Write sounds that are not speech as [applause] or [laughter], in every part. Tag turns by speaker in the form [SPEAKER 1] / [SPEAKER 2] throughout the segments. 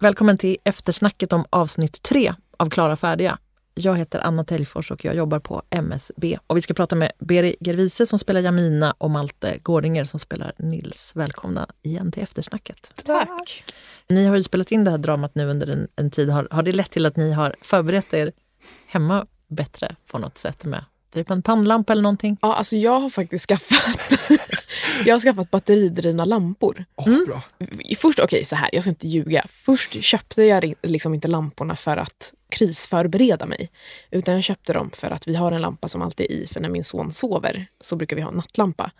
[SPEAKER 1] Välkommen till eftersnacket om avsnitt tre av Klara färdiga. Jag heter Anna Täljfors och jag jobbar på MSB. Och vi ska prata med Beri Gervise som spelar Jamina och Malte Gårdinger som spelar Nils. Välkomna igen till eftersnacket.
[SPEAKER 2] Tack.
[SPEAKER 1] Ni har ju spelat in det här dramat nu under en, en tid. Har, har det lett till att ni har förberett er hemma bättre på något sätt med typ en pannlampa eller någonting?
[SPEAKER 2] Ja, alltså jag har faktiskt skaffat, [laughs] jag har skaffat batteridrivna lampor.
[SPEAKER 3] Åh, bra.
[SPEAKER 2] Först, okej så här, jag ska inte ljuga. Först köpte jag ri- liksom inte lamporna för att krisförbereda mig. Utan jag köpte dem för att vi har en lampa som alltid är i, för när min son sover så brukar vi ha en nattlampa.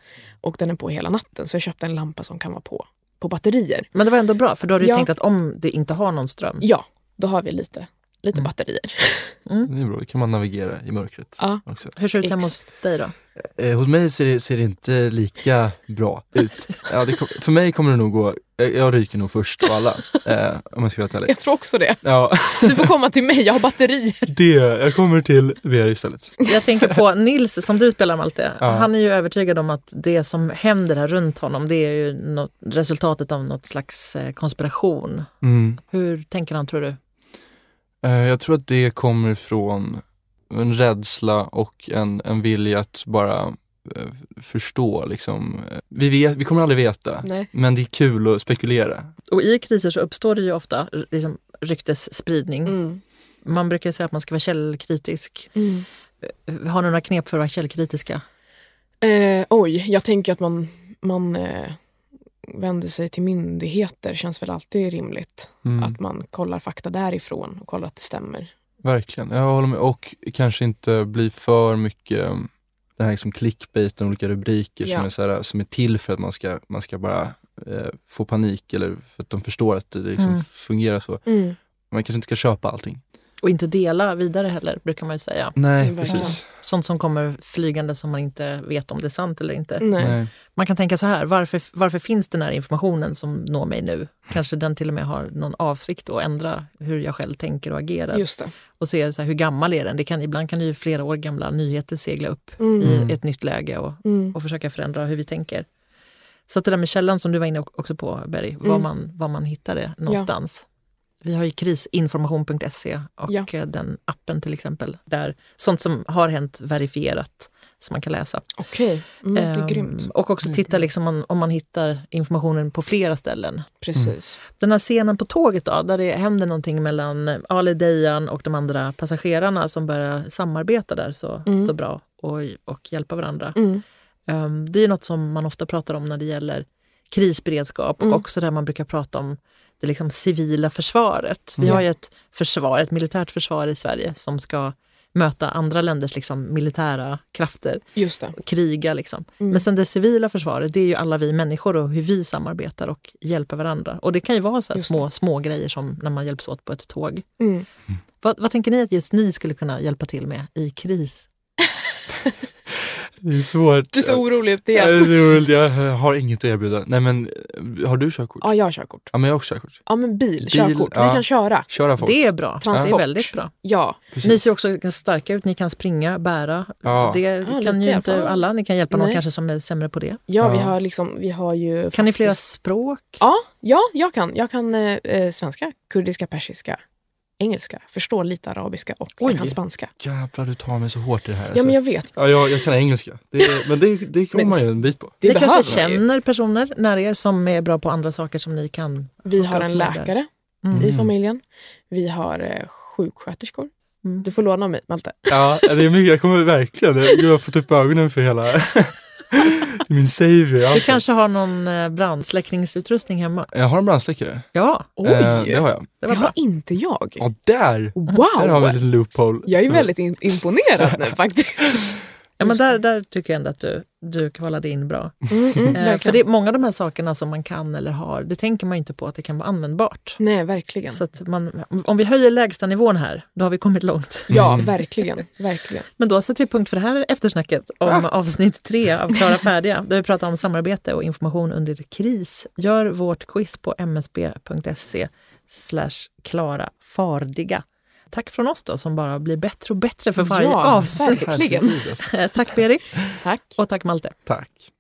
[SPEAKER 2] Och den är på hela natten, så jag köpte en lampa som kan vara på, på batterier.
[SPEAKER 1] Men det var ändå bra, för då har du ju
[SPEAKER 2] Ja.
[SPEAKER 1] tänkt att om det inte har någon ström,
[SPEAKER 2] Ja, då har vi lite, lite
[SPEAKER 1] Mm.
[SPEAKER 2] batterier.
[SPEAKER 3] Det är bra, då kan man navigera i mörkret.
[SPEAKER 2] Ja.
[SPEAKER 3] Också.
[SPEAKER 1] hur ser det ut hemma hos
[SPEAKER 2] Ex-
[SPEAKER 1] dig då?
[SPEAKER 3] Eh, hos mig ser det, ser det inte lika bra ut. Ja, det kom, för mig kommer det nog gå, jag, jag ryker nog först av alla. Eh, om jag ska vara helt ärlig.
[SPEAKER 2] Jag tror också det.
[SPEAKER 3] Ja,
[SPEAKER 2] Du får komma till mig, jag har batterier.
[SPEAKER 3] det, jag kommer till VR istället.
[SPEAKER 1] Jag tänker på Nils som du spelar Malte.
[SPEAKER 3] Ja.
[SPEAKER 1] Han är ju övertygad om att det som händer här runt honom det är ju något, resultatet av något slags eh, konspiration.
[SPEAKER 3] Mm.
[SPEAKER 1] Hur tänker han tror du?
[SPEAKER 3] Eh, jag tror att det kommer från en rädsla och en, en vilja att bara eh, förstå liksom. Eh, Vi, vet, vi kommer aldrig veta.
[SPEAKER 2] Nej.
[SPEAKER 3] Men det är kul att spekulera.
[SPEAKER 1] Och i kriser så uppstår det ju ofta r- liksom, ryktesspridning.
[SPEAKER 2] Mm.
[SPEAKER 1] Man brukar säga att man ska vara källkritisk.
[SPEAKER 2] Mm.
[SPEAKER 1] Har ni några knep för att vara källkritiska?
[SPEAKER 2] Eh, oj, jag tänker att man, man eh, vänder sig till myndigheter känns väl alltid rimligt.
[SPEAKER 3] Mm.
[SPEAKER 2] Att man kollar fakta därifrån och kollar att det stämmer.
[SPEAKER 3] Verkligen, jag håller med. Och kanske inte bli för mycket um, den här liksom clickbaiten, olika rubriker som,
[SPEAKER 2] Ja.
[SPEAKER 3] är så här, som är till för att man ska, man ska bara eh, få panik eller för att de förstår att det liksom
[SPEAKER 1] Mm.
[SPEAKER 3] fungerar så.
[SPEAKER 2] Mm.
[SPEAKER 3] Man kanske inte ska köpa allting.
[SPEAKER 1] Och inte dela vidare heller, brukar man ju säga.
[SPEAKER 3] Nej,
[SPEAKER 2] Mm, verkligen.
[SPEAKER 3] precis.
[SPEAKER 1] Sånt som kommer flygande som man inte vet om det är sant eller inte.
[SPEAKER 2] Nej.
[SPEAKER 3] Nej.
[SPEAKER 1] Man kan tänka så här, varför, varför finns den här informationen som når mig nu? Kanske den till och med har någon avsikt att ändra hur jag själv tänker och agerar.
[SPEAKER 2] Just det.
[SPEAKER 1] Och se så här, hur gammal är den? Det kan, ibland kan ju flera år gamla nyheter segla upp
[SPEAKER 2] Mm.
[SPEAKER 3] Mm.
[SPEAKER 1] i ett nytt läge och,
[SPEAKER 2] Mm.
[SPEAKER 1] och försöka förändra hur vi tänker. Så att det där med källan som du var inne också på, Berg, var,
[SPEAKER 2] Mm.
[SPEAKER 1] man, var man hittar det någonstans. Vi har ju krisinformation.se och
[SPEAKER 2] Ja.
[SPEAKER 1] eh, den appen till exempel, där sånt som har hänt verifierat som man kan läsa.
[SPEAKER 2] Okej, mm, det är
[SPEAKER 1] Ehm,
[SPEAKER 2] grymt.
[SPEAKER 1] Och också titta liksom om, om man hittar informationen på flera ställen.
[SPEAKER 2] Precis.
[SPEAKER 1] Den här scenen på tåget då, där det händer någonting mellan Ali Dejan och de andra passagerarna som börjar samarbeta där så,
[SPEAKER 2] Mm.
[SPEAKER 1] så bra och, och hjälpa varandra.
[SPEAKER 2] Mm.
[SPEAKER 1] Ehm, det är något som man ofta pratar om när det gäller krisberedskap
[SPEAKER 2] Mm.
[SPEAKER 1] och också där man brukar prata om det liksom civila försvaret. Vi
[SPEAKER 3] Mm.
[SPEAKER 1] har ju ett försvar, ett militärt försvar i Sverige som ska möta andra länders liksom militära krafter
[SPEAKER 2] Just det.
[SPEAKER 1] kriga. Liksom.
[SPEAKER 2] Mm.
[SPEAKER 1] Men sen det civila försvaret, det är ju alla vi människor och hur vi samarbetar och hjälper varandra. Och det kan ju vara så här
[SPEAKER 2] Just
[SPEAKER 1] små, små grejer som när man hjälps åt på ett tåg.
[SPEAKER 2] Mm.
[SPEAKER 1] Vad, vad tänker ni att just ni skulle kunna hjälpa till med i kris?
[SPEAKER 3] Det är svårt.
[SPEAKER 2] Du ser orolig ut
[SPEAKER 3] jag,
[SPEAKER 2] igen.
[SPEAKER 3] jag har inget att erbjuda. Nej men, eh, har du körkort?
[SPEAKER 2] Ja, jag har körkort.
[SPEAKER 3] Ja, men jag har också körkort.
[SPEAKER 2] Ja, men bil,
[SPEAKER 3] Bil,
[SPEAKER 2] körkort.
[SPEAKER 3] ja.
[SPEAKER 2] Vi kan köra.
[SPEAKER 3] Köra folk.
[SPEAKER 1] Det är bra. Det är
[SPEAKER 2] Transport.
[SPEAKER 1] väldigt bra.
[SPEAKER 2] Ja,
[SPEAKER 3] Precis.
[SPEAKER 1] Ni ser också ganska starka ut. Ni kan springa, bära.
[SPEAKER 3] Ja.
[SPEAKER 1] Det kan
[SPEAKER 2] lite i
[SPEAKER 1] ju
[SPEAKER 2] alla
[SPEAKER 1] inte
[SPEAKER 2] fall.
[SPEAKER 1] alla. Ni kan hjälpa någon
[SPEAKER 2] Nej.
[SPEAKER 1] kanske som är sämre på det.
[SPEAKER 2] ja, vi
[SPEAKER 3] Ja.
[SPEAKER 2] har liksom, vi har ju...
[SPEAKER 1] Kan ni flera
[SPEAKER 2] faktiskt-
[SPEAKER 1] språk?
[SPEAKER 2] Ja, ja, jag kan. Jag kan eh, eh, svenska, kurdiska, persiska, engelska, förstår lite arabiska och
[SPEAKER 3] Oj.
[SPEAKER 2] jag kan spanska.
[SPEAKER 3] Jävlar, du tar mig så hårt i det här.
[SPEAKER 2] Ja,
[SPEAKER 3] alltså.
[SPEAKER 2] men jag vet.
[SPEAKER 3] ja, jag, jag kan engelska. Det, är- men det, det kommer
[SPEAKER 2] Men-
[SPEAKER 3] man ju en bit på.
[SPEAKER 2] Det
[SPEAKER 1] ni kanske
[SPEAKER 2] behöver man ju.
[SPEAKER 1] känner personer nära er som är bra på andra saker som ni kan.
[SPEAKER 2] Vi har
[SPEAKER 1] hooka
[SPEAKER 2] en
[SPEAKER 1] upp med där.
[SPEAKER 2] läkare
[SPEAKER 1] Mm.
[SPEAKER 2] i familjen. Vi har eh, sjuksköterskor.
[SPEAKER 1] Mm.
[SPEAKER 2] Du får låna av mig, Malte.
[SPEAKER 3] Ja, det är mycket. Jag kommer verkligen, jag jag har fått upp ögonen för hela [laughs] min savior.
[SPEAKER 1] Du
[SPEAKER 3] alltså.
[SPEAKER 1] kanske har någon eh, brandsläckningsutrustning hemma?
[SPEAKER 3] Jag har en brandsläckare.
[SPEAKER 1] Ja,
[SPEAKER 2] Oj!
[SPEAKER 3] Eh, det
[SPEAKER 2] det har,
[SPEAKER 3] har jag.
[SPEAKER 1] bra.
[SPEAKER 2] inte jag.
[SPEAKER 3] Ja, där! Där har vi Mm. en
[SPEAKER 2] Wow!
[SPEAKER 3] liten loophole.
[SPEAKER 2] Jag är väldigt in- imponerad nu faktiskt.
[SPEAKER 1] Ja, men där, där tycker jag ändå att du, du kvalade in bra.
[SPEAKER 2] Mm, mm,
[SPEAKER 1] Eh, för
[SPEAKER 2] verkligen.
[SPEAKER 1] det är många av de här sakerna som man kan eller har, det tänker man ju inte på att det kan vara användbart.
[SPEAKER 2] Nej, verkligen.
[SPEAKER 1] Så att man, om vi höjer lägstanivån här, då har vi kommit långt.
[SPEAKER 2] Ja, verkligen. verkligen.
[SPEAKER 1] Men då sätter vi punkt för det här eftersnacket
[SPEAKER 2] Ah.
[SPEAKER 1] om avsnitt tre av Klara färdiga, där vi pratar om samarbete och information under kris. Gör vårt quiz på msb.se klarafardiga. Tack från oss då, som bara blir bättre och bättre för varje
[SPEAKER 2] Ja,
[SPEAKER 1] avsnitt.
[SPEAKER 2] verkligen.
[SPEAKER 1] Tack Beri
[SPEAKER 2] Tack.
[SPEAKER 1] och tack Malte.
[SPEAKER 3] alltså. Tack.